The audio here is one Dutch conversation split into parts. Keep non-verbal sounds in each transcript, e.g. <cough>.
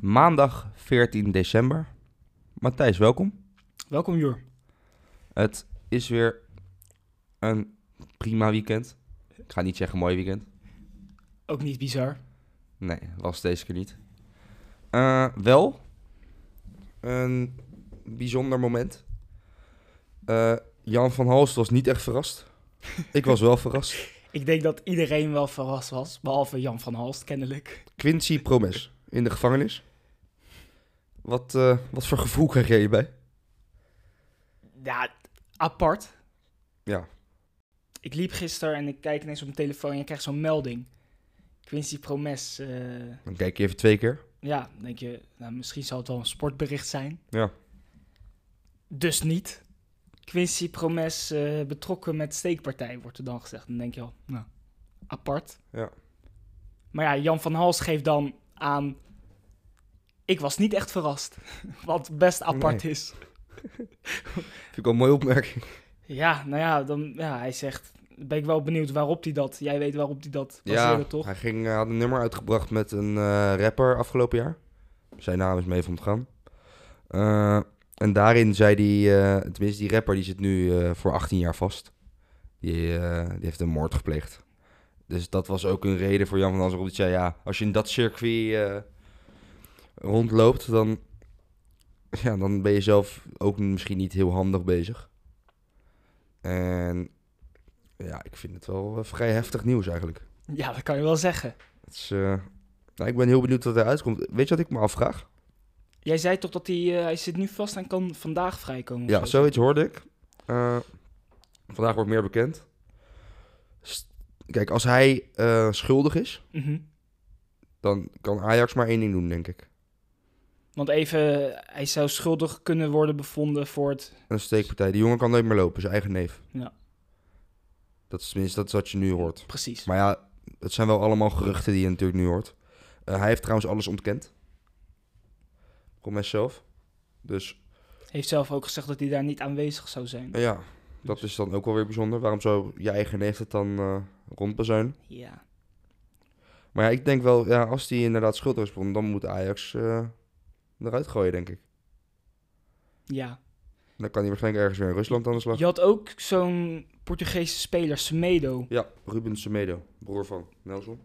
Maandag 14 december. Matthijs, welkom. Welkom Jor. Het is weer een prima weekend. Ik ga niet zeggen mooi weekend. Ook niet bizar. Nee, was deze keer niet. Eh, wel een bijzonder moment. Eh, Jan van Hals was niet echt verrast. Ik was wel verrast. Ik denk dat iedereen wel verrast was, behalve Jan van Halst kennelijk. Quincy Promes in de gevangenis. Wat, eh, wat voor gevoel kreeg jij hierbij? Ja, apart. Ja. Ik liep gisteren en ik kijk ineens op mijn telefoon en je krijgt zo'n melding. Quincy Promes. eh, Dan kijk je even twee keer. ja, dan denk je, nou, misschien zal het wel een sportbericht zijn. Ja. Dus niet. Quincy Promes eh, betrokken met steekpartij, wordt er dan gezegd. Dan denk je al, nou, apart. Ja. Maar ja, Jan van Hals geeft dan aan... Ik was niet echt verrast. <laughs> Wat best apart is. Vind ik wel een mooie opmerking. Ja, nou ja, dan, ja, hij zegt... Ben ik wel benieuwd waarop hij dat... Jij weet waarop hij dat Ja, baseerde, toch? hij ging, eh, had een nummer uitgebracht met een eh, rapper afgelopen jaar. Zijn naam is mee van ontgaan. Eh, en daarin zei die, eh, tenminste die rapper die zit nu eh, voor 18 jaar vast. Die, eh, die heeft een moord gepleegd. Dus dat was ook een reden voor Jan van Hansen. Die zei, ja, als je in dat circuit eh, rondloopt, dan, <laughs> ja, dan ben je zelf ook misschien niet heel handig bezig. En ja, ik vind het wel eh, vrij heftig nieuws eigenlijk. Ja, dat kan je wel zeggen. Het is, eh, nou, ik ben heel benieuwd wat eruit komt. Weet je wat ik me afvraag? Jij zei toch dat hij... eh, hij zit nu vast en kan vandaag vrijkomen? of Ja, zoiets hoorde ik. Eh, vandaag wordt meer bekend. S- Kijk, als hij eh, schuldig is, Mhm. dan kan Ajax maar één ding doen, denk ik. Want even... Hij zou schuldig kunnen worden bevonden voor het... Een steekpartij. Die jongen kan nooit meer lopen, zijn eigen neef. Ja. Dat is tenminste dat is wat je nu hoort. Precies. Maar ja, het zijn wel allemaal geruchten die je natuurlijk nu hoort. Eh, hij heeft trouwens alles ontkend. Promes zelf. Dus Heeft zelf ook gezegd dat hij daar niet aanwezig zou zijn. Ja, dat is dan ook wel weer bijzonder. Waarom zou je eigen neef het dan eh rondbezuinen? Ja. Maar ja, ik denk wel, ja, als die inderdaad schuldig is, bevonden, dan moet Ajax eh, eruit gooien, denk ik. Ja. Dan kan hij waarschijnlijk ergens weer in Rusland aan de slag. Je had ook zo'n Portugese speler, Semedo. Ja, Ruben Semedo, broer van Nelson.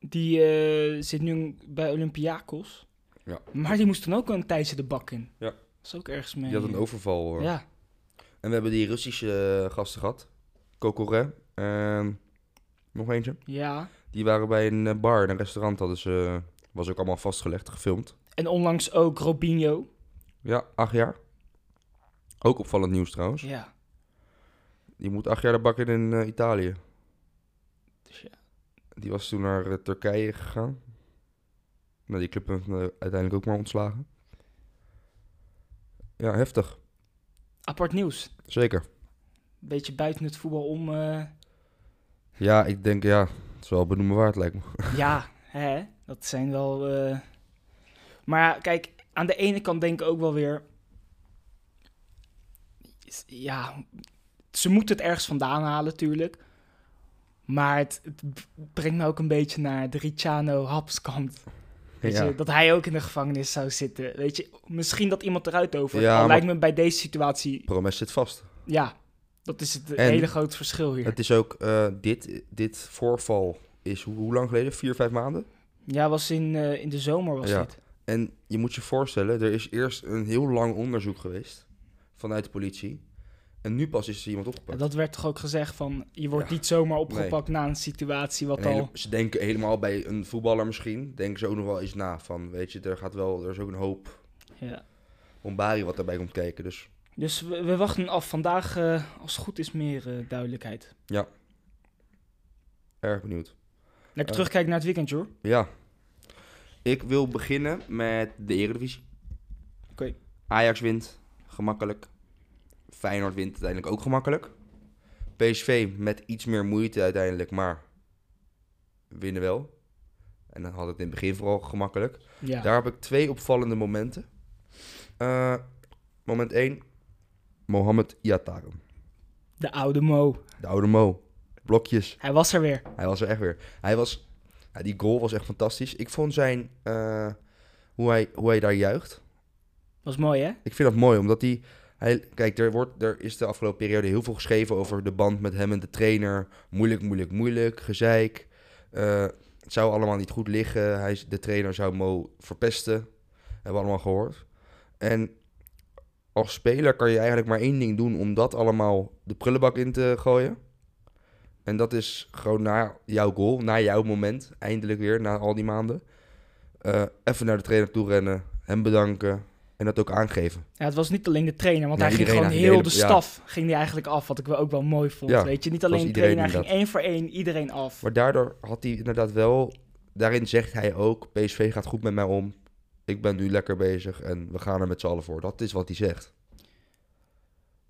Die eh, zit nu bij Olympiakos. Ja. Maar die moest dan ook een tijdje de bak in. Ja. Dat is ook ergens mee. Die had een overval. hoor. Ja. En we hebben die Russische eh, gasten gehad. Kokore en nog eentje. ja. Die waren bij een eh, bar, in een restaurant. Hadden ze, eh, was ook allemaal vastgelegd, gefilmd. En onlangs ook Robinho. Ja, acht jaar. Ook opvallend nieuws trouwens. Ja. Die moet acht jaar de bak in in eh, Italië. Dus ja. Die was toen naar eh, Turkije gegaan. Nou, die club heeft hem, eh, uiteindelijk ook maar ontslagen. Ja, heftig. Apart nieuws. Zeker. Beetje buiten het voetbal om. eh, Ja, ik denk, ja, het is wel benoemen waard, lijkt me. ja, hè? Dat zijn wel. eh, Maar ja, kijk, aan de ene kant denk ik ook wel weer. Is- Ja, ze moeten het ergens vandaan halen, natuurlijk. Maar het, het b- brengt me ook een beetje naar de Ricciano Hapskant. Weet Ja. je, dat hij ook in de gevangenis zou zitten. Weet je, misschien dat iemand eruit over. Ja, Al maar- lijkt me bij deze situatie. Promes zit vast. Ja, dat is het En- hele grote verschil hier. Het is ook, eh, dit, dit voorval is hoe, hoe lang geleden? Vier, vijf maanden? Ja, was in, eh, in de zomer was Ja. dit. En je moet je voorstellen, er is eerst een heel lang onderzoek geweest vanuit de politie. En nu pas is er iemand En opgepakt. dat werd toch ook gezegd van, je wordt Ja. niet zomaar opgepakt na een situatie wat En hele- al... ze denken helemaal bij een voetballer misschien, denken ze ook nog wel eens na van, weet je, er gaat wel, er is ook een hoop Ja. Ombari wat daarbij komt kijken. Dus Dus we, we wachten af. Vandaag, eh, als het goed is, meer eh, duidelijkheid. erg benieuwd. Lekker Eh. terugkijken naar het weekend, hoor. Ja, Ik wil beginnen met de Eredivisie. Oké. Ajax wint, gemakkelijk. Feyenoord wint uiteindelijk ook gemakkelijk. PSV met iets meer moeite uiteindelijk, maar winnen wel. En dan had het in het begin vooral gemakkelijk. Ja. Daar heb ik twee opvallende momenten. Eh, moment 1. Mohamed Iataren. De oude Mo. De oude Mo. Blokjes. Hij was er weer. Hij was er echt weer. Hij was... Ja, die goal was echt fantastisch. Ik vond zijn... eh, hoe, hij, hoe hij daar juicht. Was mooi, hè? Ik vind dat mooi, omdat die... Hij, kijk, er, wordt, er is de afgelopen periode heel veel geschreven over de band met hem en de trainer. Moeilijk, moeilijk, moeilijk. Gezeik. Eh, het zou allemaal niet goed liggen. Hij, is- de trainer zou Mo verpesten. Hebben we allemaal gehoord. En als speler kan je eigenlijk maar één ding doen om dat allemaal de prullenbak in te gooien. En dat is gewoon na jouw goal, na jouw moment, eindelijk weer, na al die maanden. eh, even naar de trainer toe rennen, hem bedanken en dat ook aangeven. Ja, het was niet alleen de trainer, want Ja, hij ging iedereen gewoon heel de eigenlijk, de hele- staf ging die eigenlijk af, wat ik wel ook wel mooi vond. Ja, weet je, niet was alleen de iedereen trainer, hij ging één voor één iedereen af. Maar daardoor had hij inderdaad wel... Daarin zegt hij ook, PSV gaat goed met mij om. Ik ben nu lekker bezig en we gaan er met z'n allen voor. Dat is wat hij zegt.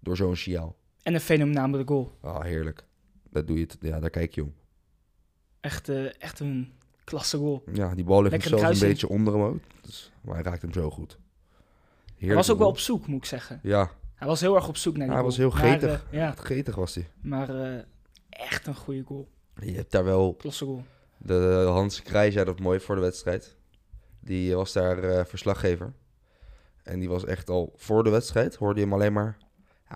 Door zo'n signaal. En een fenomenale goal. Ah, heerlijk. Dat doe je, t- ja, daar kijk je om. Echt, eh, echt een klasse goal. Ja, die bal ligt Lekker hem zelfs een kruising. beetje onder hem ook. Dus, maar hij raakt hem zo goed. Hij Heerlijk. was ook wel op zoek, moet ik zeggen. Ja, Hij was heel erg op zoek naar die hij goal. was heel Maar, gretig. eh, ja, Gretig was hij. maar eh, echt een goede goal. Je hebt daar wel Klasse goal. De Hans Krij zei dat mooi voor de wedstrijd. Die was daar eh, verslaggever. En die was echt al voor de wedstrijd, hoorde je hem alleen maar.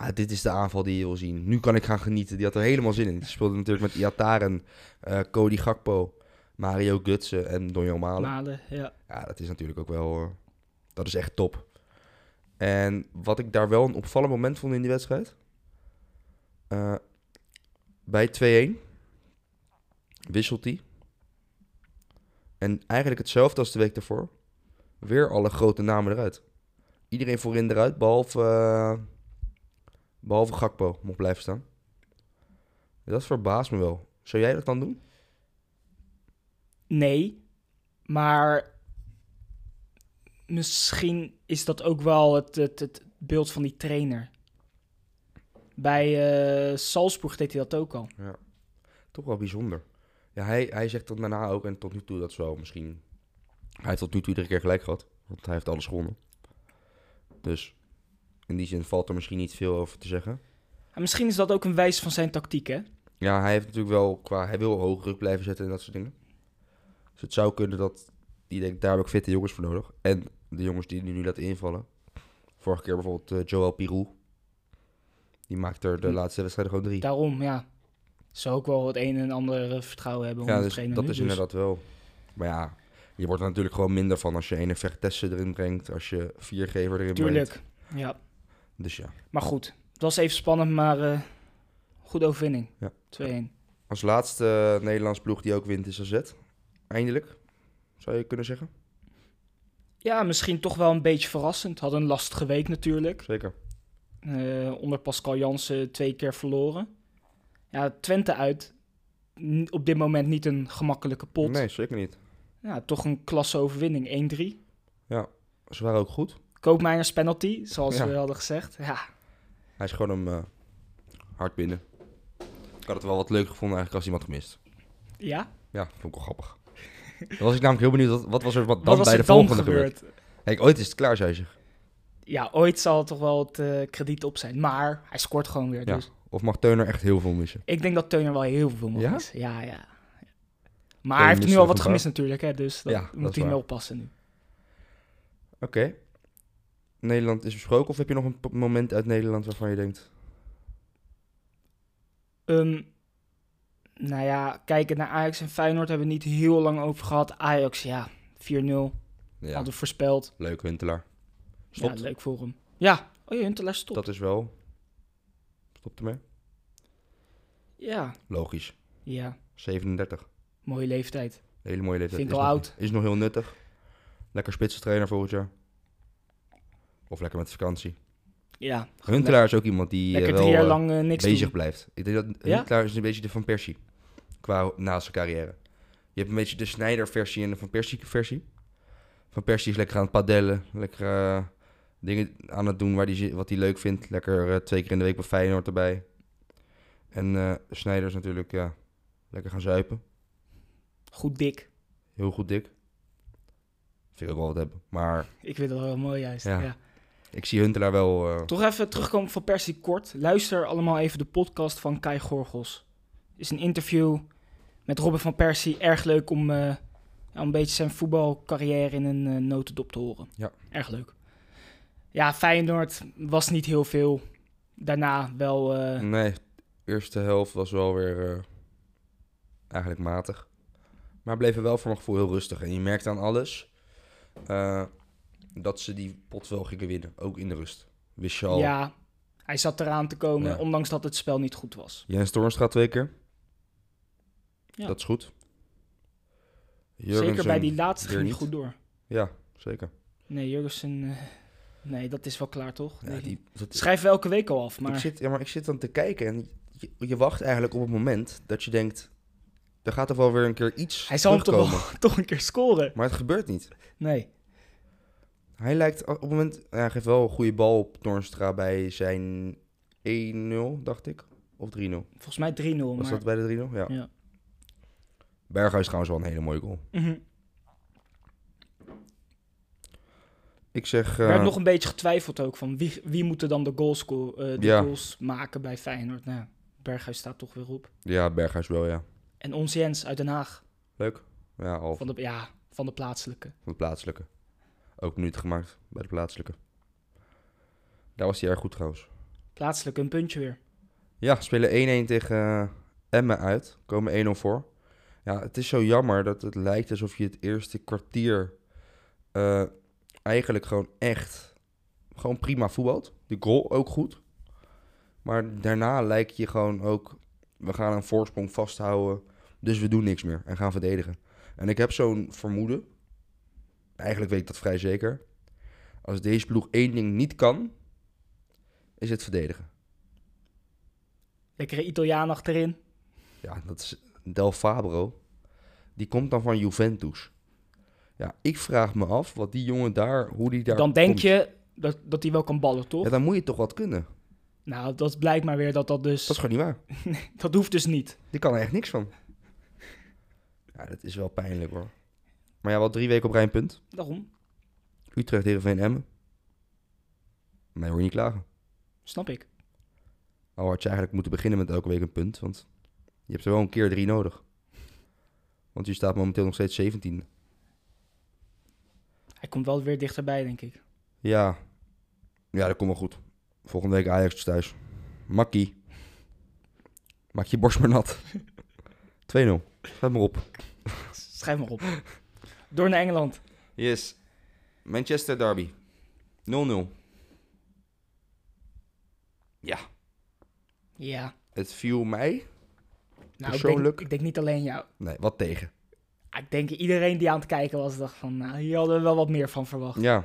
Ja, dit is de aanval die je wil zien. Nu kan ik gaan genieten. Die had er helemaal zin in. Die speelde natuurlijk met Iataren, eh, Cody Gakpo, Mario Gutsen en Donjon Malen. Malen, ja. Ja, dat is natuurlijk ook wel... eh, dat is echt top. En wat ik daar wel een opvallend moment vond in die wedstrijd... eh, bij 2-1 wisselt hij. En eigenlijk hetzelfde als de week daarvoor. Weer alle grote namen eruit. Iedereen voorin eruit, behalve, eh, behalve Gakpo mocht blijven staan. Dat verbaast me wel. Zou jij dat dan doen? Nee, maar misschien is dat ook wel het, het, het beeld van die trainer. Bij eh, Salzburg deed hij dat ook al. Toch wel bijzonder. Ja, hij, hij zegt dan daarna ook, en tot nu toe dat zo misschien. Hij heeft tot nu toe iedere keer gelijk gehad, want hij heeft alles gewonnen. Dus in die zin valt er misschien niet veel over te zeggen. En misschien is dat ook een wijs van zijn tactiek, hè? Ja, hij heeft natuurlijk wel qua. Hij wil hoog druk blijven zetten en dat soort dingen. Dus het zou kunnen dat. Die denkt, daar heb ik fitte jongens voor nodig. En de jongens die hij nu laat invallen. Vorige keer bijvoorbeeld eh, Joël Pirou. Die maakt er de Hm. laatste wedstrijden gewoon drie. Daarom, ja. Zou ook wel het een en ander eh, vertrouwen hebben om Ja, de dus trainer dat nu, is dus- inderdaad wel. Maar ja, je wordt er natuurlijk gewoon minder van als je ene Vertessen erin brengt. Als je viergever erin brengt. Tuurlijk, ja. Dus ja. Maar goed, het was even spannend, maar eh goede overwinning. Ja. 2-1. Als laatste eh, Nederlands ploeg die ook wint is AZ. Eindelijk, zou je kunnen zeggen. Ja, misschien toch wel een beetje verrassend. Had een lastige week natuurlijk. Zeker. Eh, onder Pascal Jansen twee keer verloren. Ja, Twente uit. N- Op dit moment niet een gemakkelijke pot. Nee, zeker niet. Ja, toch een klasse overwinning. 1-3. Ze waren ook goed. Koopmeiners penalty, zoals Ja. we hadden gezegd. Ja, Hij schoot hem eh, hard binnen. Ik had het wel wat leuk gevonden eigenlijk als iemand gemist. ja? Ja, vond ik wel <laughs> grappig. Dan was ik namelijk heel benieuwd, wat, wat was er wat dan Wat was bij er de dan volgende gebeurd? Kijk, ooit is het klaar, zei ze. Ja, ooit zal het toch wel het eh, krediet op zijn. Maar hij scoort gewoon weer. Ja. Dus Of mag Teuner echt heel veel missen? ik denk dat Teuner wel heel veel mag Ja? missen. Ja, ja. Maar Teuner hij heeft mist nu al nog wat een gemist natuurlijk, hè, dus dat Ja, dat moet is hij waar. mee oppassen nu. Oké. Nederland is besproken of heb je nog een p- moment uit Nederland waarvan je denkt... Ehm, nou ja, kijken naar Ajax en Feyenoord hebben we niet heel lang over gehad. Ajax, ja, 4-0. Ja, Hadden we voorspeld. leuk Huntelaar. Ja, Stopt. leuk voor hem. Ja, oh ja, Huntelaar stopt. dat is wel... Stopt ermee. Ja, Logisch. ja, 37. mooie leeftijd. Hele mooie leeftijd. Vind ik Is al nog- oud. Is nog heel nuttig. Lekker spitsentrainer volgend jaar. Of lekker met vakantie. Ja, Huntelaar is ook iemand die eh, lekker wel drie jaar eh, lang eh, niks bezig doen. blijft. Ik denk dat Ja? Huntelaar is een beetje de Van Persie. Qua naast zijn carrière. Je hebt een beetje de Snijder-versie en de Van Persie-versie. Van Persie is lekker aan het padellen. Lekker eh, dingen aan het doen waar die, zi- wat hij leuk vindt. Lekker eh, twee keer in de week bij Feyenoord erbij. En eh Snijders natuurlijk, ja. Lekker gaan zuipen. Goed dik. Heel goed dik. Vind ik ook wel wat hebben. Maar Ik vind dat wel mooi juist. Ja. ja. ik zie Huntelaar wel... eh, Toch even terugkomen van Persie kort. Luister allemaal even de podcast van Kai Gorgels. is een interview met Robin van Persie. Erg leuk om eh, ja, een beetje zijn voetbalcarrière in een eh, notendop te horen. Ja. Erg leuk. Ja, Feyenoord was niet heel veel. Daarna wel... eh, Nee, de eerste helft was wel weer eh, eigenlijk matig. Maar bleven wel voor mijn gevoel heel rustig. En je merkte aan alles eh, dat ze die pot wel gingen winnen. Ook in de rust. Wist je al. Ja, hij zat eraan te komen, Ja. ondanks dat het spel niet goed was. Jens Toornstra twee keer. Ja. Dat is goed. Zeker bij die laatste weer ging niet. hij goed door. Ja, zeker. Nee, Jurgensen... eh, nee, dat is wel klaar, toch? Ja, Nee. die, dat, Schrijven we elke week al af, Ik maar... zit, ja, maar ik zit dan te kijken en je, je wacht eigenlijk op het moment dat je denkt... Er gaat toch wel weer een keer iets Hij zal hem toch, terugkomen. wel, <laughs> toch een keer scoren. Maar het gebeurt niet. Nee. Hij lijkt op het moment. ja, Hij geeft wel een goede bal op Toornstra bij zijn 1-0, dacht ik. Of 3-0. Volgens mij 3-0. Was Maar... dat bij de 3-0? Ja. Ja. Berghuis trouwens wel een hele mooie goal. Mhm. Ik zeg. Er eh, werd nog een beetje getwijfeld ook van wie, wie moet er dan de, goals, sco- eh, de Ja. goals maken bij Feyenoord. Nou, Berghuis staat toch weer op. Ja, Berghuis wel, ja. En ons Jens uit Den Haag. Leuk. Ja, al Van de, ja, van de plaatselijke. van de plaatselijke. Ook minuten gemaakt bij de plaatselijke. Daar was hij erg goed trouwens. Plaatselijke, een puntje weer. Ja, spelen 1-1 tegen eh, Emmen uit. Komen 1-0 voor. Ja, het is zo jammer dat het lijkt alsof je het eerste kwartier eh, eigenlijk gewoon echt gewoon prima voetbalt. De goal ook goed. Maar daarna lijkt je gewoon ook, we gaan een voorsprong vasthouden. Dus we doen niks meer en gaan verdedigen. En ik heb zo'n vermoeden, eigenlijk weet ik dat vrij zeker. Als deze ploeg één ding niet kan, is het verdedigen. Lekkere Italiaan achterin. Ja, dat is Del Fabro. Die komt dan van Juventus. Ja, ik vraag me af wat die jongen daar, hoe die daar dan denk komt. je dat, dat hij wel kan ballen, toch? Ja, dan moet je toch wat kunnen. Nou, dat blijkt maar weer dat dat dus... Dat is gewoon niet waar. dat hoeft dus niet. Die kan er echt niks van. Ja, dat is wel pijnlijk hoor. Maar ja, wel drie weken op rij een punt. Daarom, Utrecht, Heerenveen, Emmen. Mij hoor je niet klagen. snap ik. Al had je eigenlijk moeten beginnen met elke week een punt. Want je hebt er wel een keer drie nodig. Want je staat momenteel nog steeds 17. Hij komt wel weer dichterbij, denk ik. Ja. Ja, dat komt wel goed. Volgende week Ajax thuis. Makkie. Maak je borst maar <laughs> nat. 2-0. Gaat maar op. <laughs> Schrijf maar op. Door naar Engeland. Yes. Manchester Derby. 0-0. Ja. Het viel mij... Nou, Ik Persoonlijk? denk, ik denk niet alleen jou. Nee, wat tegen. Ah, Ik denk iedereen die aan het kijken was, dacht van, nou, hier hadden we wel wat meer van verwacht. 0-0 Ja.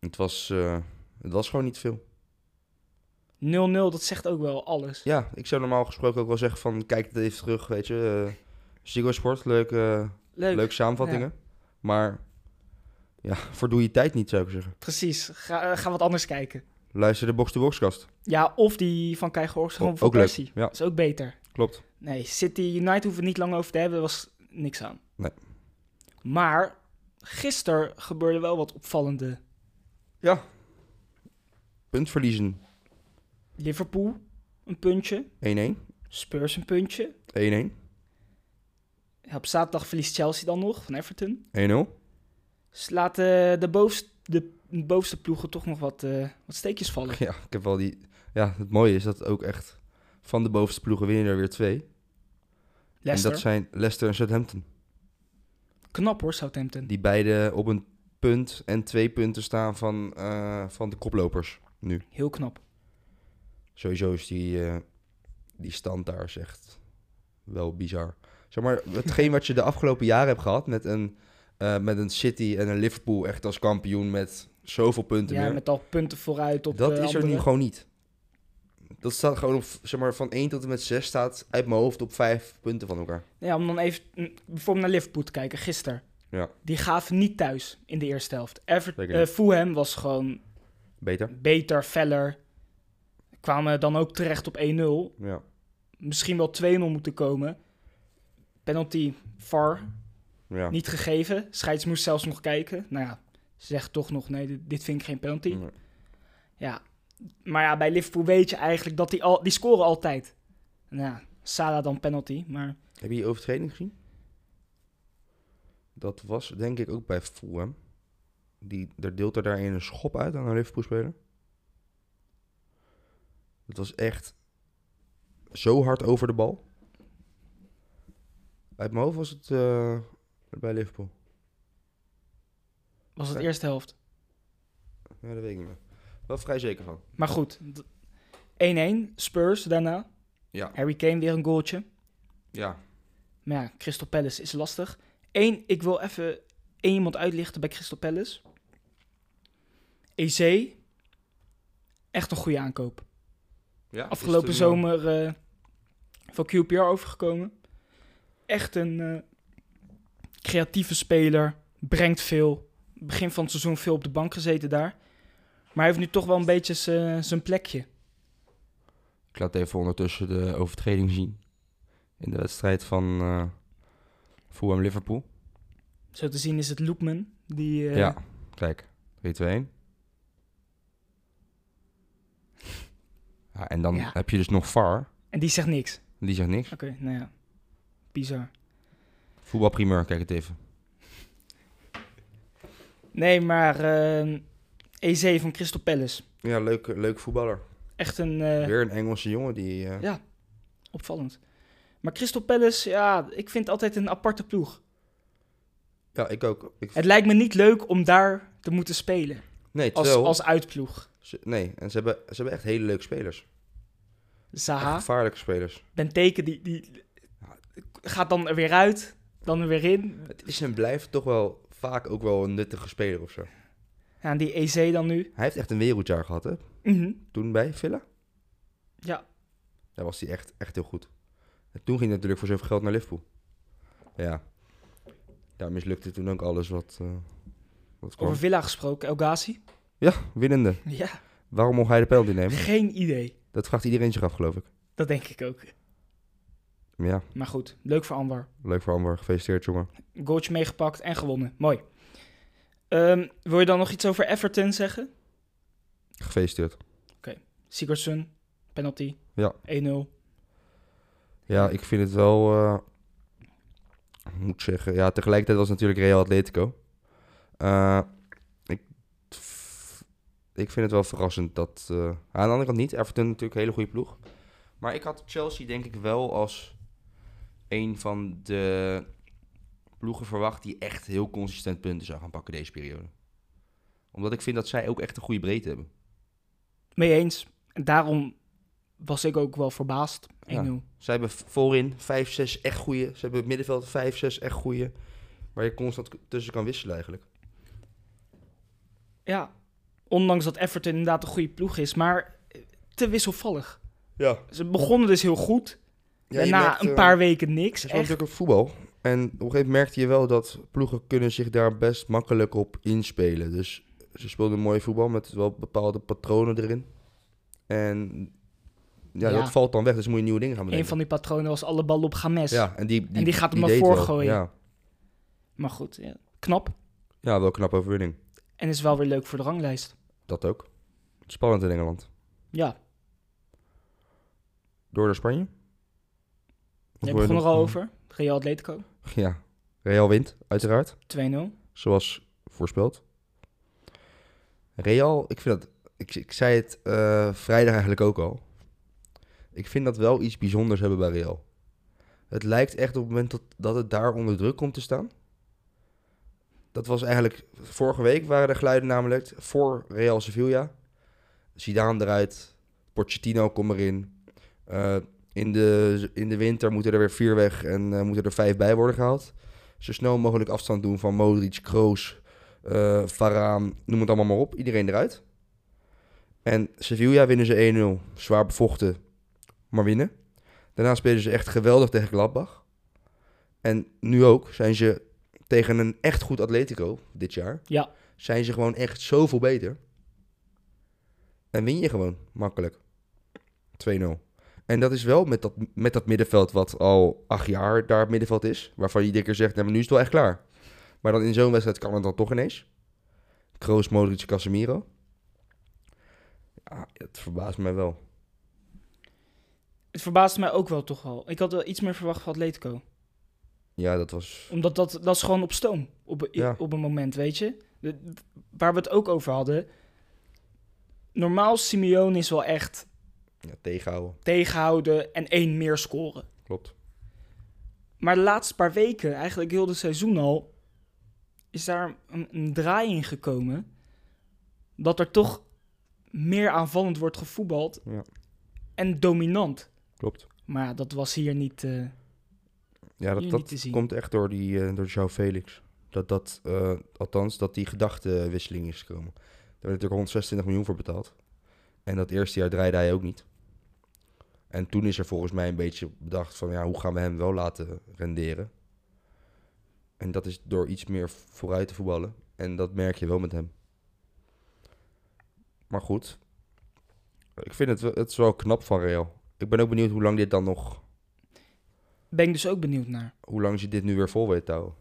Het was, eh, het was gewoon niet veel. dat zegt ook wel alles. Ja, ik zou normaal gesproken ook wel zeggen van... Kijk het even terug, weet je. eh, Ziggo Sport, leuke, Leuk. leuke samenvattingen. Maar... Ja, verdoe je tijd niet, zou ik zeggen. Precies. Ga, eh, ga wat anders kijken. Luister de box-to-boxkast. Ja, of die van Kai Gorgs, gewoon O- van ook leuk, Persie. ja. Dat is ook beter. Klopt. Nee, City United hoeven we het niet lang over te hebben. Er was niks aan. Nee. Maar gisteren gebeurde wel wat opvallende. Punt verliezen 1-1. Liverpool, een puntje. 1-1. Spurs, een puntje. Ja, Op zaterdag verliest Chelsea dan nog van Everton. 1-0. Dus laten de bovenste, de bovenste ploegen toch nog wat, eh, wat steekjes vallen. Ja, ik heb wel die... Ja, het mooie is dat ook echt van de bovenste ploegen winnen er weer twee. En Leicester. dat zijn Leicester en Southampton. Knap hoor, Southampton. Die beide op een punt en twee punten staan van, eh, van de koplopers. Heel knap. Sowieso is die, eh, die stand daar is echt wel bizar. Zeg maar, hetgeen wat je de afgelopen jaren hebt gehad met een, eh, met een City en een Liverpool echt als kampioen met zoveel punten Ja, meer. met al punten vooruit op dat de is er nu andere. gewoon niet. Dat staat gewoon op, zeg maar, van 1 tot en met 6 staat uit mijn hoofd op 5 punten van elkaar. Ja, om dan even mm, bijvoorbeeld naar Liverpool te kijken, gisteren. Ja. Die gaven niet thuis in de eerste helft. Ever Zeker eh, Fulham was gewoon Beter. beter, feller. Kwamen dan ook terecht op 1-0. Ja. Misschien wel 2-0 moeten komen. Penalty VAR ja. niet gegeven. Scheids moest zelfs nog kijken. Nou ja, ze zegt toch nog, nee, dit, dit vind ik geen penalty. Nee. Ja, maar ja, bij Liverpool weet je eigenlijk dat die, al, die scoren altijd. Nou ja, Salah dan penalty, maar Heb je die overtreding gezien? Dat was denk ik ook bij Fulham. Die, daar deelt er daarin een schop uit aan een Liverpool-speler. Het was echt zo hard over de bal. Uit mijn hoofd was het eh, bij Liverpool. was het Ja. eerste helft. Ja, dat weet ik niet meer. Wel vrij zeker van. Maar goed, d- 1-1, Spurs daarna. Ja. Harry Kane weer een goaltje. Ja. Maar ja, Crystal Palace is lastig. Eén, ik wil even één iemand uitlichten bij Crystal Palace. EC, echt een goede aankoop. ja Afgelopen is het een, zomer eh, van QPR overgekomen. Echt een eh, creatieve speler. Brengt veel. Begin van het seizoen veel op de bank gezeten daar. Maar hij heeft nu toch wel een beetje z'n- zijn plekje. eh, Ik laat even ondertussen de overtreding zien. In de wedstrijd van eh Fulham-Liverpool. Zo te zien is het Loopman. Die, eh, Ja, kijk. 3, 2, 1. Ja, en dan Ja. heb je dus nog VAR. En die zegt niks. Die zegt niks. Oké, nou ja. Bizar. Voetbalprimeur, kijk het even. Nee, maar eh, EC van Crystal Palace. Ja, leuk, leuk voetballer. Echt een... eh, Weer een Engelse jongen die... eh, Ja, opvallend. Maar Crystal Palace, ja, ik vind altijd een aparte ploeg. Ja, ik ook. Ik, Het lijkt me niet leuk om daar te moeten spelen. nee, Als, terwijl... als uitploeg. ze- nee, en ze hebben, ze hebben echt hele leuke spelers. Echt Zaha, gevaarlijke spelers. Benteke, die, die gaat dan er weer uit. Dan er weer in. Het is en blijft toch wel vaak ook wel een nuttige speler of zo. Ja, en die EC dan nu. Hij heeft echt een wereldjaar gehad, hè? Mhm. Toen bij Villa. Ja, Daar was hij echt, echt heel goed. En toen ging hij natuurlijk voor zoveel geld naar Liverpool. Ja. Daar mislukte toen ook alles wat, eh, wat kwam. over Villa gesproken. El Ghazi. Ja, winnende. Ja, Waarom mocht hij de penalty nemen? geen idee. Dat vraagt iedereen zich af, geloof ik. Dat denk ik ook. Maar ja, Maar goed, leuk voor Anwar. leuk voor Amber. Gefeliciteerd, jongen. Goaltje meegepakt en gewonnen. Mooi. Ehm, wil je dan nog iets over Everton zeggen? Gefeliciteerd. Sigurdsson, penalty. Ja. 1-0. Ja, ik vind het wel... eh, ik moet zeggen... Ja, tegelijkertijd was het natuurlijk Real Atletico. Eh, ik, ik vind het wel verrassend dat... eh, aan de andere kant niet. Everton natuurlijk een hele goede ploeg. Maar ik had Chelsea denk ik wel als een van de ploegen verwacht... die echt heel consistent punten zou gaan pakken deze periode. Omdat ik vind dat zij ook echt een goede breedte hebben. Mee eens. En daarom was ik ook wel verbaasd. 1-0. Ja. Zij hebben voorin 5, 6 echt goede. Ze hebben het middenveld 5, 6 echt goede. Waar je constant k- tussen kan wisselen eigenlijk. Ja, ondanks dat Everton inderdaad een goede ploeg is, maar eh, te wisselvallig. Ja. Ze begonnen dus heel goed, ja eh, daarna een paar weken niks. Het is wel Echt. natuurlijk op voetbal. En op een gegeven moment merkte je wel dat ploegen kunnen zich daar best makkelijk op inspelen. Dus ze speelden mooi voetbal met wel bepaalde patronen erin. En ja, Ja. dat valt dan weg. Dus moet je nieuwe dingen gaan Een bedenken. van die patronen was alle ballen op Games. Ja, en die, die, En die gaat hem naar deed voren wel. gooien. Ja. Maar goed, ja. knap. ja, wel knap overwinning. En is wel weer leuk voor de ranglijst. Dat ook. Spannend in Engeland. Ja, Door naar Spanje? Of wil jij je begon er nog- al over. Real Atletico, Ja, Real wint, uiteraard. 2-0. Zoals voorspeld. Real, ik vind dat... Ik, ik zei het eh, vrijdag eigenlijk ook al. Ik vind dat wel iets bijzonders hebben bij Real. Het lijkt echt op het moment dat, dat het daar onder druk komt te staan. Dat was eigenlijk... Vorige week waren er geluiden namelijk voor Real Sevilla. Zidane eruit. Pochettino komt erin. Eh, in, de, in de winter moeten er weer vier weg en eh, moeten er vijf bij worden gehaald zo snel mogelijk afstand doen van Modric, Kroos, eh Varaan, noem het allemaal maar op. Iedereen eruit. En Sevilla winnen ze 1-0. Zwaar bevochten, maar winnen. Daarna spelen ze echt geweldig tegen Gladbach. En nu ook zijn ze tegen een echt goed Atletico dit jaar. Ja. Zijn ze gewoon echt zoveel beter. En win je gewoon makkelijk. 2-0. En dat is wel met dat, met dat middenveld wat al acht jaar daar het middenveld is. Waarvan je iedere keer zegt, nou, maar nu is het wel echt klaar. Maar dan in zo'n wedstrijd kan het dan toch ineens. Kroos, Modric, Casemiro. Ja, het verbaast mij wel. Het verbaasde mij ook wel toch wel. Ik had wel iets meer verwacht van Atletico. Ja, dat was... Omdat dat, dat is gewoon op stoom. Op, een- Ja. op een moment, weet je. De- waar we het ook over hadden. Normaal Simeone is wel echt Ja, tegenhouden. tegenhouden en één meer scoren. Klopt. Maar de laatste paar weken, eigenlijk heel het seizoen al, is daar een, een draai in gekomen. Dat er toch meer aanvallend wordt gevoetbald Ja. en dominant. Klopt. Maar ja, dat was hier niet. eh, Ja, Hier dat, niet te dat zien. komt echt door, die, eh, door João Felix. Dat dat, eh, althans, dat die gedachtenwisseling is gekomen. Daar werd natuurlijk 126 miljoen voor betaald. En dat eerste jaar draaide hij ook niet. En toen is er volgens mij een beetje bedacht van, ja, hoe gaan we hem wel laten renderen? En dat is door iets meer vooruit te voetballen. En dat merk je wel met hem. Maar goed, ik vind het, wel- het is wel knap van Real. Ik ben ook benieuwd hoe lang dit dan nog ben ik dus ook benieuwd naar. hoe lang ze dit nu weer vol weten houden.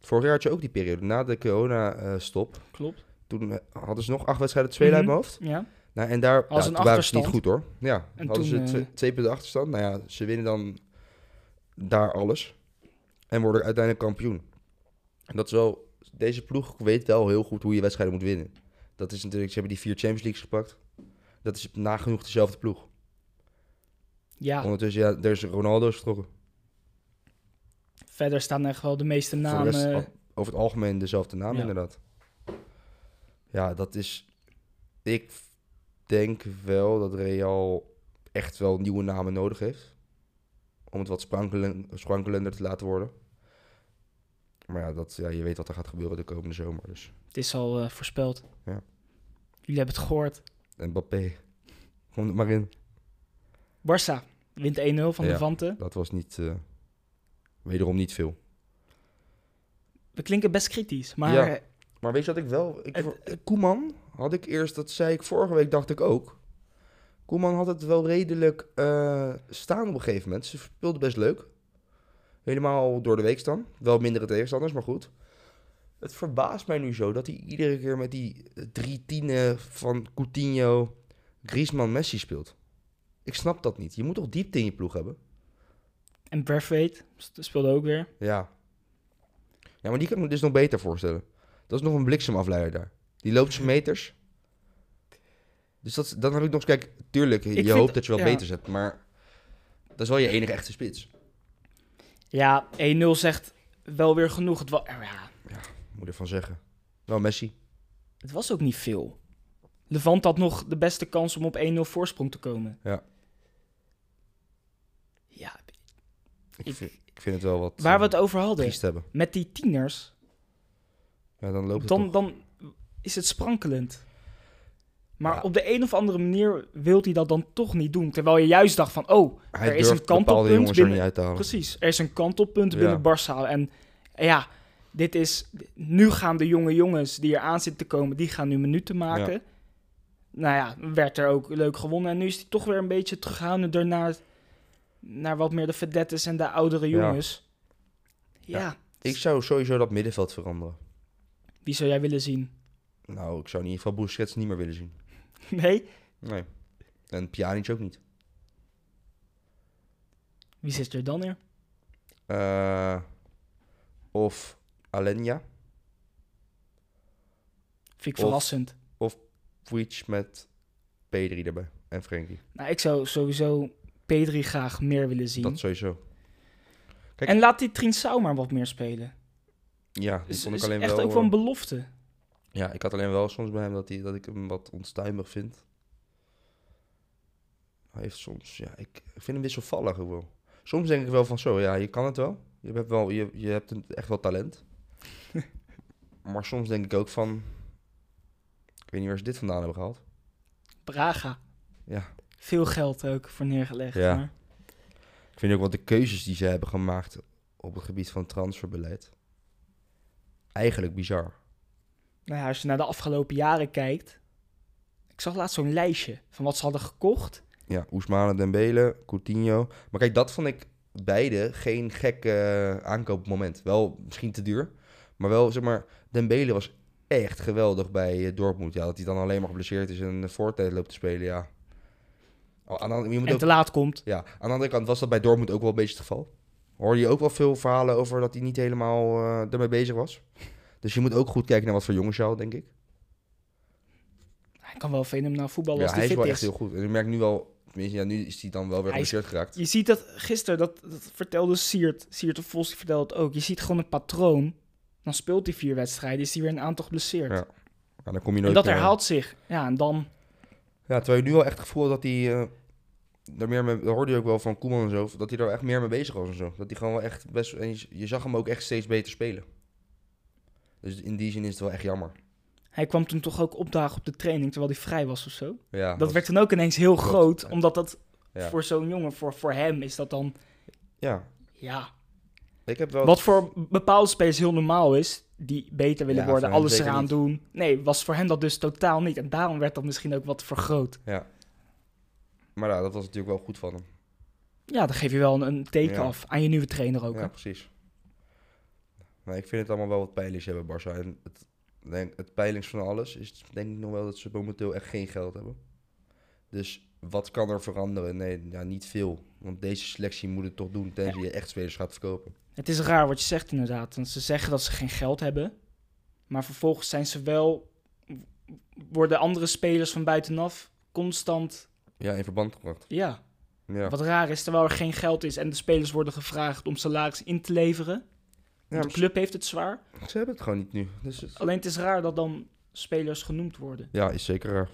Vorig jaar had je ook die periode. Na de corona-stop, Klopt. toen eh, hadden ze nog acht wedstrijden twee uit Mhm. mijn hoofd. Ja. Nou, en daar Als ja, een toen waren ze niet achterstand. goed hoor. Ja, En hadden toen, ze tw- eh, twee punten achterstand. Nou ja, ze winnen dan daar alles. En worden uiteindelijk kampioen. En dat is wel... Deze ploeg weet wel heel goed hoe je wedstrijden moet winnen. Dat is natuurlijk... Ze hebben die vier Champions Leagues gepakt. Dat is nagenoeg dezelfde ploeg. ja, Ondertussen, ja, er is Ronaldo is vertrokken. verder staan echt wel de meeste Voor de namen. rest oh. al- over het algemeen dezelfde naam, eh, Ja. inderdaad. Ja, dat is. Ik f- denk wel dat Real echt wel nieuwe namen nodig heeft. Om het wat sprankelen- sprankelender te laten worden. Maar ja, dat, ja, je weet wat er gaat gebeuren de komende zomer. Dus. het is al eh, voorspeld. Ja. Jullie hebben het gehoord. En Mbappé, <laughs> kom er maar in. Barça wint 1-0 van Ja. de Vanten. Dat was niet. eh, wederom niet veel. We klinken best kritisch, maar Ja. eh, Maar weet je wat ik wel... Ik, Het- voor- eh, Koeman had ik eerst, dat zei ik vorige week, dacht ik ook. Koeman had het wel redelijk eh, staan op een gegeven moment. Ze speelde best leuk. Helemaal door de week dan. Wel mindere tegenstanders, maar goed. Het verbaast mij nu zo dat hij iedere keer met die eh, drie tienen van Coutinho, Griezmann, Messi speelt. Ik snap dat niet. Je moet toch diepte in je ploeg hebben? en Braithwaite speelde ook weer. Ja. Ja, maar die kan ik me dus nog beter voorstellen. Dat is nog een bliksemafleider daar. Die loopt <laughs> zijn meters. Dus dat, is- dan heb ik nog eens... Kijk, tuurlijk, je vind- hoopt dat je wel ja. beter zet, maar... Dat is wel je enige echte spits. Ja, 1-0 zegt wel weer genoeg. Het, wa- ja, Moet ervan zeggen. Wel Messi. het was ook niet veel. Levant had nog de beste kans om op 1-0 voorsprong te komen. Ja. Ja, Ik, Ik- vind, ik vind het wel wat... waar eh, we het over hadden. triest hebben. Met die tieners, Ja, dan loopt het dan, toch. dan is het sprankelend. Maar Ja. op de een of andere manier wil hij dat dan toch niet doen. Terwijl je juist dacht van, oh, Hij er is durft een kantelpunt bepaalde jongens er binnen- niet uit te halen. Precies. Er is een kantelpunt Oh. Ja. binnen Barça. En ja, dit is... Nu gaan de jonge jongens die er aan zitten te komen... die gaan nu minuten maken. Nou ja, werd er ook leuk gewonnen. En nu is hij toch weer een beetje terughoudender naar... naar wat meer de vedettes en de oudere Ja. jongens. Ja. Ik zou sowieso dat middenveld veranderen. Wie zou jij willen zien? <laughs> Nou, ik zou in ieder geval Busquets niet meer willen zien. Nee? Nee. En Pjanic ook niet. Wie zit er dan in? Eh, of Alenia. Vind ik Of- verrassend. Vujic met Pedri erbij. En Frenkie. Nou, ik zou sowieso Pedri graag meer willen zien. Dat sowieso. Kijk. En laat die Trinsau maar wat meer spelen. Ja, die Is, vond ik is alleen echt wel... ook wel een eh, belofte. ja, ik had alleen wel soms bij hem dat, hij, dat ik hem wat onstuimig vind. Hij heeft soms... Ja, ik, ik vind hem wisselvallig ook wel. Soms denk ik wel van zo, ja, je kan het wel. Je hebt, wel, je, je hebt een- echt wel <laughs> talent. maar soms denk ik ook van... Ik weet niet waar ze dit vandaan hebben gehaald. Braga. Ja. Veel geld ook voor neergelegd. Ja. Maar Ik vind ook wat de keuzes die ze hebben gemaakt op het gebied van transferbeleid. eigenlijk bizar. Nou ja, als je naar de afgelopen jaren kijkt. Ik zag laatst zo'n lijstje van wat ze hadden gekocht. Ja, Oesmane Dembele, Coutinho. Maar kijk, dat vond ik beide geen gek eh, aankoopmoment. Wel misschien te duur, maar wel zeg maar, Dembele was echt geweldig bij eh, Dortmund. Ja, dat hij dan alleen maar geblesseerd is en voortijd loopt te spelen, ja. Oh, aan de, andere- je moet En ook- te laat komt. ja, aan de andere kant was dat bij Dortmund ook wel een beetje het geval. Hoorde je ook wel veel verhalen over dat hij niet helemaal eh ermee bezig was. Dus je moet ook goed kijken naar wat voor jongens je haalt, denk ik. Hij kan wel fenomenaal voetballen Ja, als hij is hij fit wel is. echt heel goed. En ik merk nu wel, tenminste, ja, nu is hij dan wel weer Hij is- geblesseerd geraakt. Je ziet dat gisteren, dat, dat vertelde Siert. Siert de Vos die vertelde het ook. Je ziet gewoon een patroon. Dan speelt hij vier wedstrijden, is hij weer een aantal geblesseerd. Ja, Ja, dan kom je nooit, en dat eh, herhaalt zich. Ja, en dan... Ja, terwijl je nu wel echt het gevoel had dat hij... eh, daar meer mee, dat hoorde je ook wel van Koeman en zo, dat hij daar echt meer mee bezig was en zo. Dat hij gewoon wel echt best... En je, je zag hem ook echt steeds beter spelen. Dus in die zin is het wel echt jammer. Hij kwam toen toch ook opdagen op de training, terwijl hij vrij was of zo. Ja, dat werd dan ook ineens heel Klopt, groot, ja. omdat dat Ja. voor zo'n jongen, voor, voor hem, is dat dan... Ja, Ja, ik heb wel... wat voor bepaalde spelers heel normaal is, die beter willen Ja, voor worden, hem alles zeker eraan niet. doen. Nee, was voor hem dat dus totaal niet. En daarom werd dat misschien ook wat vergroot. Maar ja, dat was natuurlijk wel goed van hem. Ja, dan geef je wel een, een teken Ja. af aan je nieuwe trainer ook. Ja, hè. precies. Maar ik vind het allemaal wel wat pijnlijks hebben, Barça. En het, denk, het pijnlijks van alles is denk ik nog wel dat ze momenteel echt geen geld hebben. Dus wat kan er veranderen? Nee, ja, niet veel. Want deze selectie moet het toch doen, tenzij je echt spelers gaat verkopen. Het is raar wat je zegt inderdaad. Want ze zeggen dat ze geen geld hebben. Maar vervolgens zijn ze wel... Worden andere spelers van buitenaf constant... Ja, in verband gebracht. Ja, Ja, wat raar is. Terwijl er geen geld is en de spelers worden gevraagd om salaris in te leveren. ja de club heeft het zwaar. maar ze hebben het gewoon niet nu. Dus het- Alleen het is raar dat dan spelers genoemd worden. Ja, is zeker raar.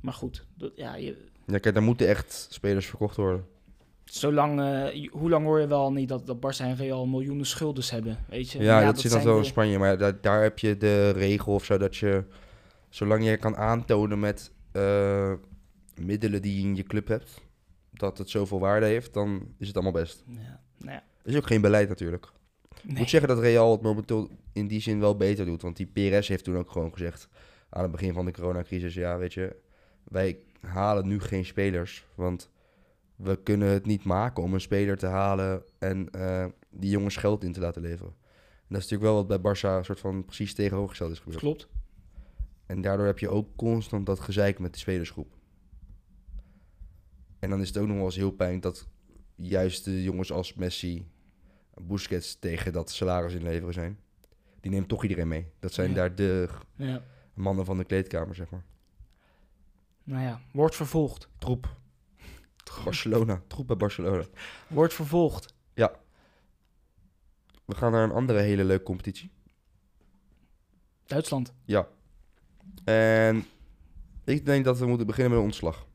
Maar goed, dat, ja, je, Ja, kijk, daar moeten echt spelers verkocht worden. zolang, eh, je- hoe lang hoor je wel niet dat, dat Barça en Real miljoenen schulden hebben? Weet je? Ja, Maar dat, zit dan zijn wel in de- Spanje. Maar daar, daar heb je de regel of zo dat je, zolang je kan aantonen met eh, middelen die je in je club hebt, dat het zoveel waarde heeft, dan is het allemaal best. Ja, nou ja, Er is ook geen beleid natuurlijk. Ik nee. moet zeggen dat Real het momenteel in die zin wel beter doet. Want die Perez heeft toen ook gewoon gezegd aan het begin van de coronacrisis, ja weet je, wij halen nu geen spelers. Want we kunnen het niet maken om een speler te halen en eh, die jongens geld in te laten leveren. En dat is natuurlijk wel wat bij Barça een soort van precies tegenovergesteld is gebeurd. Klopt. En daardoor heb je ook constant dat gezeik met de spelersgroep. En dan is het ook nog wel eens heel pijnlijk dat juist de jongens als Messi, Busquets tegen dat salaris inleveren zijn. Die neemt toch iedereen mee. Dat zijn Ja. daar de g- Ja. mannen van de kleedkamer, zeg maar. Nou ja, wordt vervolgd. Troep. Barcelona. Troep bij Barcelona. Wordt vervolgd. We gaan naar een andere hele leuke competitie. Duitsland. En ik denk dat we moeten beginnen met een ontslag.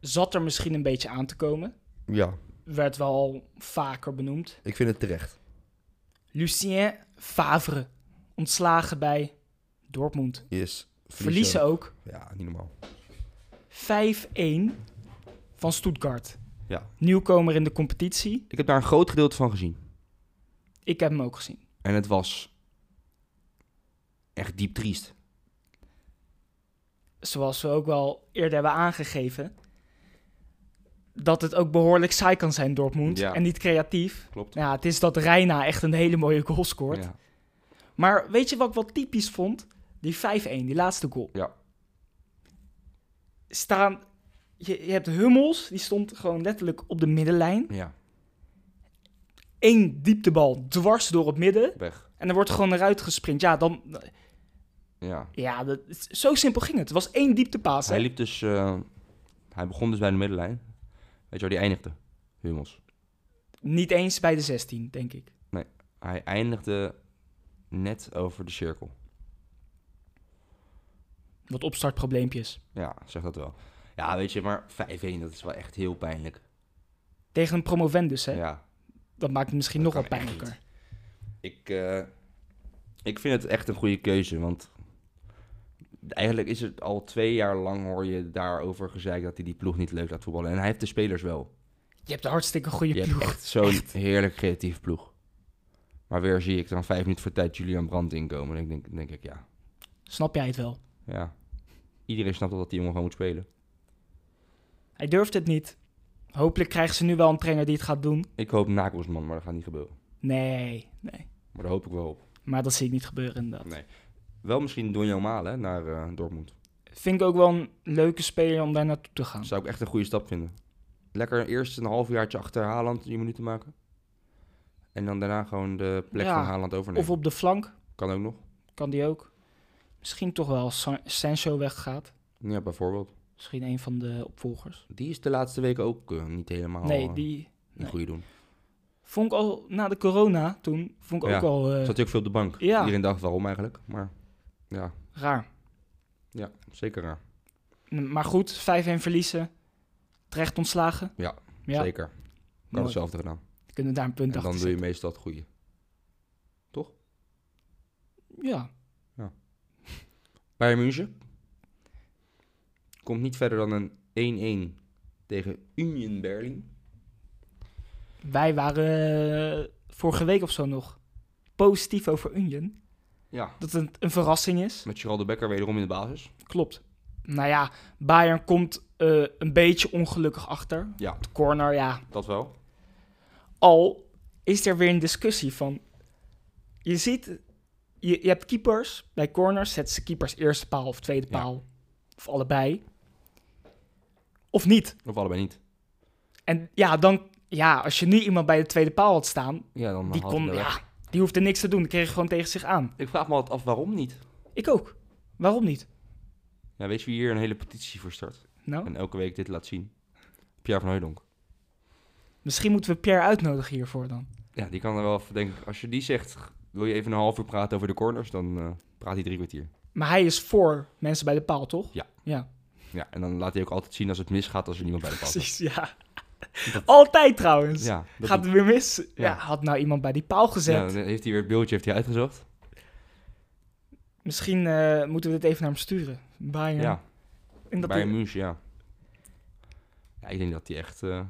Zat er misschien een beetje aan te komen. Ja, Werd wel al vaker benoemd. ik vind het terecht. Lucien Favre. Ontslagen bij Dortmund. Is Verliezen ook Ja, niet normaal. 5-1 van Stuttgart. Ja. Nieuwkomer in de competitie. Ik heb daar een groot gedeelte van gezien. Ik heb hem ook gezien. En het was echt diep triest. Zoals we ook wel eerder hebben aangegeven. Dat het ook behoorlijk saai kan zijn, Dortmund. Ja. En niet creatief. Nou Klopt. Ja, het is dat Reina echt een hele mooie goal scoort. Ja. Maar weet je wat ik wel typisch vond? Die 5-1, die laatste goal. Ja. Staan, je, je hebt Hummels, die stond gewoon letterlijk op de middenlijn. ja, Eén dieptebal dwars door het midden. weg. En er wordt gewoon eruit gesprint. Ja, dan, Ja. Ja, dat, zo simpel ging het. Het was één dieptepaas. hè? Hij liep dus, eh, hij begon dus bij de middenlijn. Weet je waar die eindigde? Hummels. Niet eens bij de 16, denk ik. Hij eindigde net over de cirkel. Wat opstartprobleempjes. Ja, zeg dat wel. Ja, weet je, maar 5-1, dat is wel echt heel pijnlijk. Tegen een promovendus, hè? Ja. Dat maakt het misschien Dat nog wel kan echt pijnlijker. Ik, eh, ik vind het echt een goede keuze, want eigenlijk is het al twee jaar lang hoor je daarover gezeik dat hij die ploeg niet leuk laat voetballen. En hij heeft de spelers wel. Je hebt een hartstikke goede Je hebt ploeg. echt zo'n heerlijk creatief ploeg. Maar weer zie ik dan vijf minuten voor tijd Julian Brandt inkomen. En ik denk, denk ik, ja, Snap jij het wel? ja. Iedereen snapt wel dat die jongen gewoon moet spelen. Hij durft het niet. Hopelijk krijgen ze nu wel een trainer die het gaat doen. Ik hoop Nakelsman, maar dat gaat niet gebeuren. Nee, nee. Maar daar hoop ik wel op. Maar dat zie ik niet gebeuren inderdaad. Nee. Wel misschien Donjo Malen hè, naar eh, Dortmund. Vind ik ook wel een leuke speler om daar naartoe te gaan. Dat zou ik echt een goede stap vinden. Lekker eerst een halfjaartje achter Haaland je minuten maken. En dan daarna gewoon de plek Ja, van Haaland overnemen. Of op de flank, Kan ook nog. kan die ook. Misschien toch wel als San- Sancho weggaat. Ja, bijvoorbeeld. Misschien een van de opvolgers. Die is de laatste weken ook eh, niet helemaal nee, eh, die een nee. goede doen. vond ik al na de corona toen, vond ik Ja. ook al eh, Zat natuurlijk veel op de bank. ja. Iedereen dacht waarom eigenlijk. Maar ja, raar. ja zeker raar. N- Maar goed, 5-1 verliezen. Terecht ontslagen. Ja, ja Zeker. Ik had mooi. hetzelfde gedaan. Kunnen we daar een punt En achter dan doe je meestal het goede. zetten. Ja, Bayern München komt niet verder dan een 1-1 tegen Union Berlin. wij waren eh, vorige week of zo nog positief over Union. Ja, Dat het een verrassing is. met Geraldo Becker wederom in de basis. Klopt. Nou ja, Bayern komt eh, een beetje ongelukkig achter. Ja, De corner, ja. dat wel. Al is er weer een discussie van... Je ziet, je, je hebt keepers. Bij corners zetten ze keepers eerste paal of tweede Ja. paal. Of allebei. Of niet. Of allebei niet. En ja, dan, ja, als je nu iemand bij de tweede paal had staan... Ja, dan Die, haalt kon, hij hem er ja, weg. die hoefde niks te doen. Die kreeg gewoon tegen zich aan. Ik vraag me altijd af waarom niet. Ik ook. Waarom niet? Ja, weet je wie hier een hele petitie voor start? Nou, En elke week dit laat zien. Pierre van Hooydonk. misschien moeten we Pierre uitnodigen hiervoor dan. Ja, die kan er wel even denken. Als je die zegt, wil je even een half uur praten over de corners, dan eh, praat hij drie kwartier. Maar hij is voor mensen bij de paal, toch? Ja. Ja, Ja, en dan laat hij ook altijd zien als het misgaat als er niemand bij de paal is. precies, ja. Dat- Altijd trouwens. Ja, dat Gaat het weer mis? Ja. Ja. had nou iemand bij die paal gezet. Ja, dan heeft hij weer het beeldje heeft hij uitgezocht. Misschien eh, moeten we dit even naar hem sturen. Bayern. Ja, En dat bij hij- München, ja. Ja, ik denk dat hij echt... eh,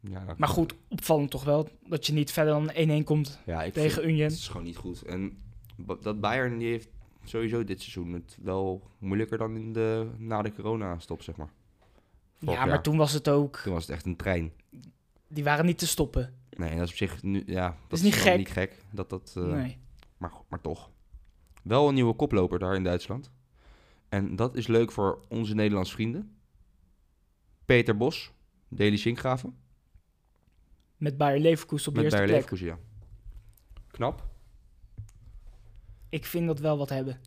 Ja, dat- Maar goed, opvallend toch wel dat je niet verder dan 1-1 komt ja, ik tegen Union. Het is gewoon niet goed. En ba- dat Bayern die heeft sowieso dit seizoen het wel moeilijker dan in de, na de corona-stop, zeg maar. Ja, Vorig maar jaar. toen was het ook... Toen was het echt een trein. Die waren niet te stoppen. Nee, en dat is op zich nu, ja, dat, is niet dan gek. niet gek. Dat, dat, eh, nee. maar, goed, maar toch. Wel een nieuwe koploper daar in Duitsland. En dat is leuk voor onze Nederlandse vrienden. Peter Bos, Deli Sinkgraven. Met Bayer Leverkusen op de Met eerste Bayer plek. Leverkusen, ja. Knap. Ik vind dat wel wat hebben.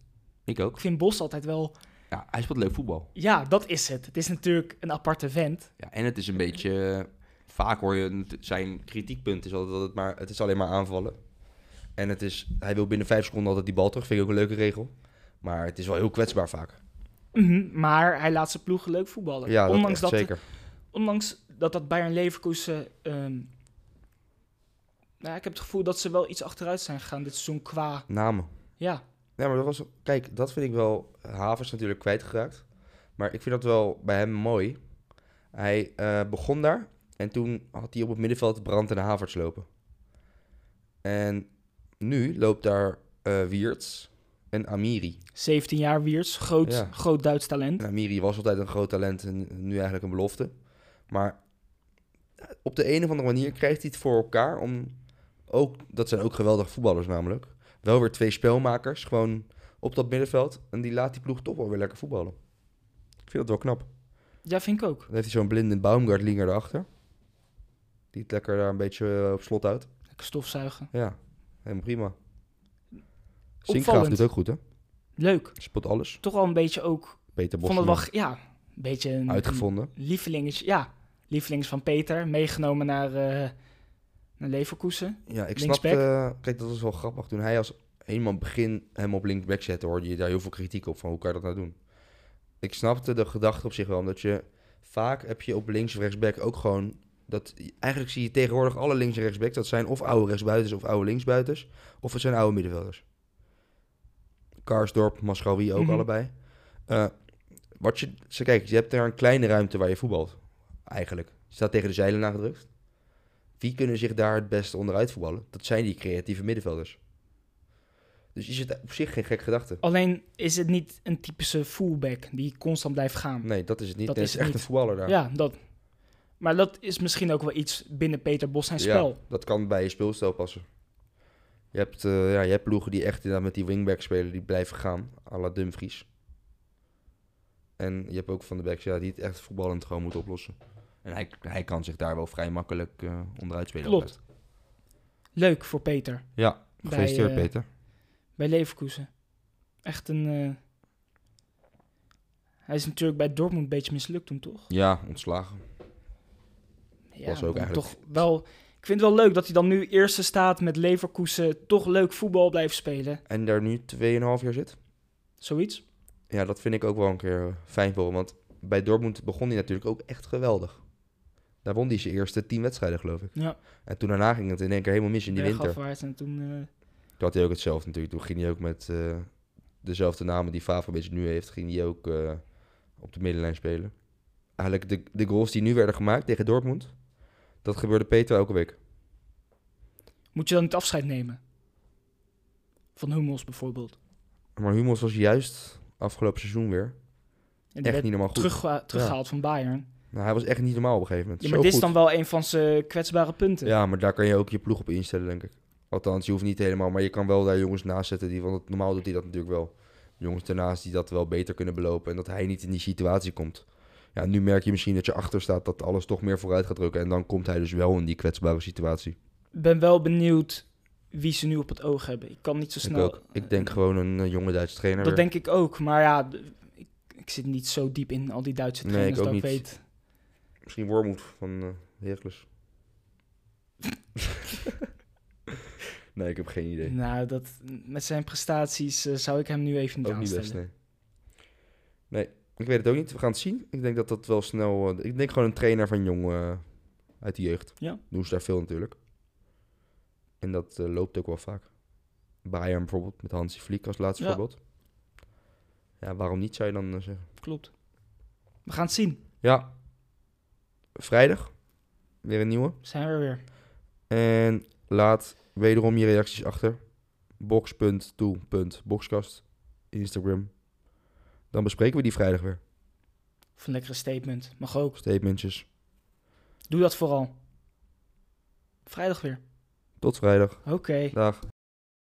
Ik Ik ook. vind Bos altijd wel... Ja, hij speelt leuk voetbal. Ja, dat is het. Het is natuurlijk een aparte vent. Ja, en het is een beetje... eh, vaak hoor je het- zijn kritiekpunt is altijd dat het, maar, het is alleen maar aanvallen. En het is, hij wil binnen vijf seconden altijd die bal terug. Vind ik ook een leuke regel. Maar het is wel heel kwetsbaar vaak. Mhm, maar hij laat zijn ploegen leuk voetballen. Ja, dat, ondanks, echt dat, zeker. ondanks dat dat Bayern Leverkusen... ehm, nou, ja, ik heb het gevoel dat ze wel iets achteruit zijn gegaan dit seizoen qua... Namen. Ja, Ja, maar dat was... Kijk, dat vind ik wel... Havers natuurlijk kwijtgeraakt. Maar ik vind dat wel bij hem mooi. Hij eh, begon daar. En toen had hij op het middenveld Brand en Havers lopen. En nu loopt daar eh Wiertz en Amiri. 17 jaar Wiertz, groot, Ja. groot Duits talent. En Amiri was altijd een groot talent en nu eigenlijk een belofte. Maar op de een of andere manier krijgt hij het voor elkaar om ook, dat zijn ook geweldige voetballers namelijk, wel weer twee spelmakers gewoon op dat middenveld. En die laat die ploeg toch wel weer lekker voetballen. Ik vind dat wel knap. Ja, vind ik ook. Dan heeft hij zo'n blinde Baumgartlinger erachter. Die het lekker daar een beetje eh, op slot houdt. Lekker stofzuigen. Ja, helemaal prima. Sinkgraaf Opvallend. doet ook goed, hè? Leuk. Spot alles. Toch wel een beetje ook... Peter vond het wel, Bos g- ja, een beetje een, uitgevonden. een lievelingetje. Ja, lievelings van Peter. Meegenomen naar, eh, naar Leverkusen. Ja, ik snap. Linksback. kijk, dat was wel grappig. Toen hij als helemaal begin hem op linkback zette, hoorde je daar heel veel kritiek op van hoe kan je dat nou doen. Ik snapte de gedachte op zich wel, omdat je vaak heb je op links of rechtsback ook gewoon dat eigenlijk zie je tegenwoordig alle links en rechtsback dat zijn of oude rechtsbuitens of oude linksbuitens of het zijn oude middenvelders. Karsdorp, Maschawi ook Mhm. allebei. Eh, wat je, ze kijk, je hebt daar een kleine ruimte waar je voetbalt eigenlijk. Je staat tegen de zeilen aangedrukt. die kunnen zich daar het beste onderuit voetballen. Dat zijn die creatieve middenvelders. Dus is het op zich geen gek gedachte. Alleen is het niet een typische fullback die constant blijft gaan. Nee, dat is het niet. Dat Nee, is het is het echt een voetballer daar. Ja, dat. Maar dat is misschien ook wel iets binnen Peter Bos zijn spel. Ja, dat kan bij je speelstijl passen. Je hebt, eh, ja, je hebt ploegen die echt inderdaad met die wingback spelen, die blijven gaan, à la Dumfries. En je hebt ook van de backs ja, die het echt voetballend gewoon moeten oplossen. En hij, hij kan zich daar wel vrij makkelijk eh, onderuit spelen. Klopt. altijd. Leuk voor Peter Ja, Bij, gefeliciteerd eh, Peter. bij Leverkusen. Echt een. eh, Hij is natuurlijk bij Dortmund een beetje mislukt toen, toch? Ja, ontslagen. Ja, Was ook dan eigenlijk- toch wel. Ik vind het wel leuk dat hij dan nu eerste staat met Leverkusen. Toch leuk voetbal blijft spelen. En daar nu 2,5 jaar zit. Zoiets. Ja, dat vind ik ook wel een keer eh, fijn voor hem. Want bij Dortmund begon hij natuurlijk ook echt geweldig. Daar won hij zijn eerste 10 wedstrijden, geloof ik. Ja, En toen daarna ging het in één keer helemaal mis in die winter. bergafwaarts en toen. eh, Toen had hij ook hetzelfde natuurlijk. Toen ging hij ook met eh, dezelfde namen die Fava een beetje nu heeft, ging hij ook eh, op de middenlijn spelen. Eigenlijk de, de goals die nu werden gemaakt tegen Dortmund, dat gebeurde Peter elke week. moet je dan niet afscheid nemen? Van Hummels bijvoorbeeld. Maar Hummels was juist afgelopen seizoen weer En die echt werd niet normaal goed. teruggeha- teruggehaald van Bayern. Nou, hij was echt niet normaal op een gegeven moment. Ja, maar Zo dit is goed. dan wel een van zijn kwetsbare punten. Ja, maar daar kan je ook je ploeg op instellen, denk ik. Althans, je hoeft niet helemaal, maar je kan wel daar jongens naast zetten. Die, want normaal doet hij dat natuurlijk wel. Jongens daarnaast die dat wel beter kunnen belopen en dat hij niet in die situatie komt. Ja, nu merk je misschien dat je achter staat dat alles toch meer vooruit gaat drukken. En dan komt hij dus wel in die kwetsbare situatie. Ik ben wel benieuwd wie ze nu op het oog hebben. Ik kan niet zo ik snel. ook. Ik denk gewoon een eh, jonge Duitse trainer. Dat weer. denk ik ook. Maar ja, d- ik, ik zit niet zo diep in al die Duitse Nee, trainers ik ook dat ik niet. weet. Misschien Wormoed van eh <laughs> Heracles. nee, ik heb geen idee. Nou, dat, met zijn prestaties eh, zou ik hem nu even niet Ook niet aanstellen. best, nee. Nee, ik weet het ook niet. We gaan het zien. Ik denk dat dat wel snel... eh, ik denk gewoon een trainer van jong eh, uit de jeugd. Ja. Doen ze daar veel natuurlijk. En dat eh, loopt ook wel vaak. Bayern bijvoorbeeld, met Hansi Flick als laatste Ja. voorbeeld. Ja, waarom niet zou je dan eh, zeggen? Klopt. We gaan het zien. Ja. Vrijdag. Weer een nieuwe. Zijn we er weer. En laat wederom je reacties achter. Box.to.boxkast. Instagram. Dan bespreken we die vrijdag weer. Of een lekkere statement. Mag ook. Statementjes. Doe dat vooral. Vrijdag weer. Tot vrijdag. Oké. Dag.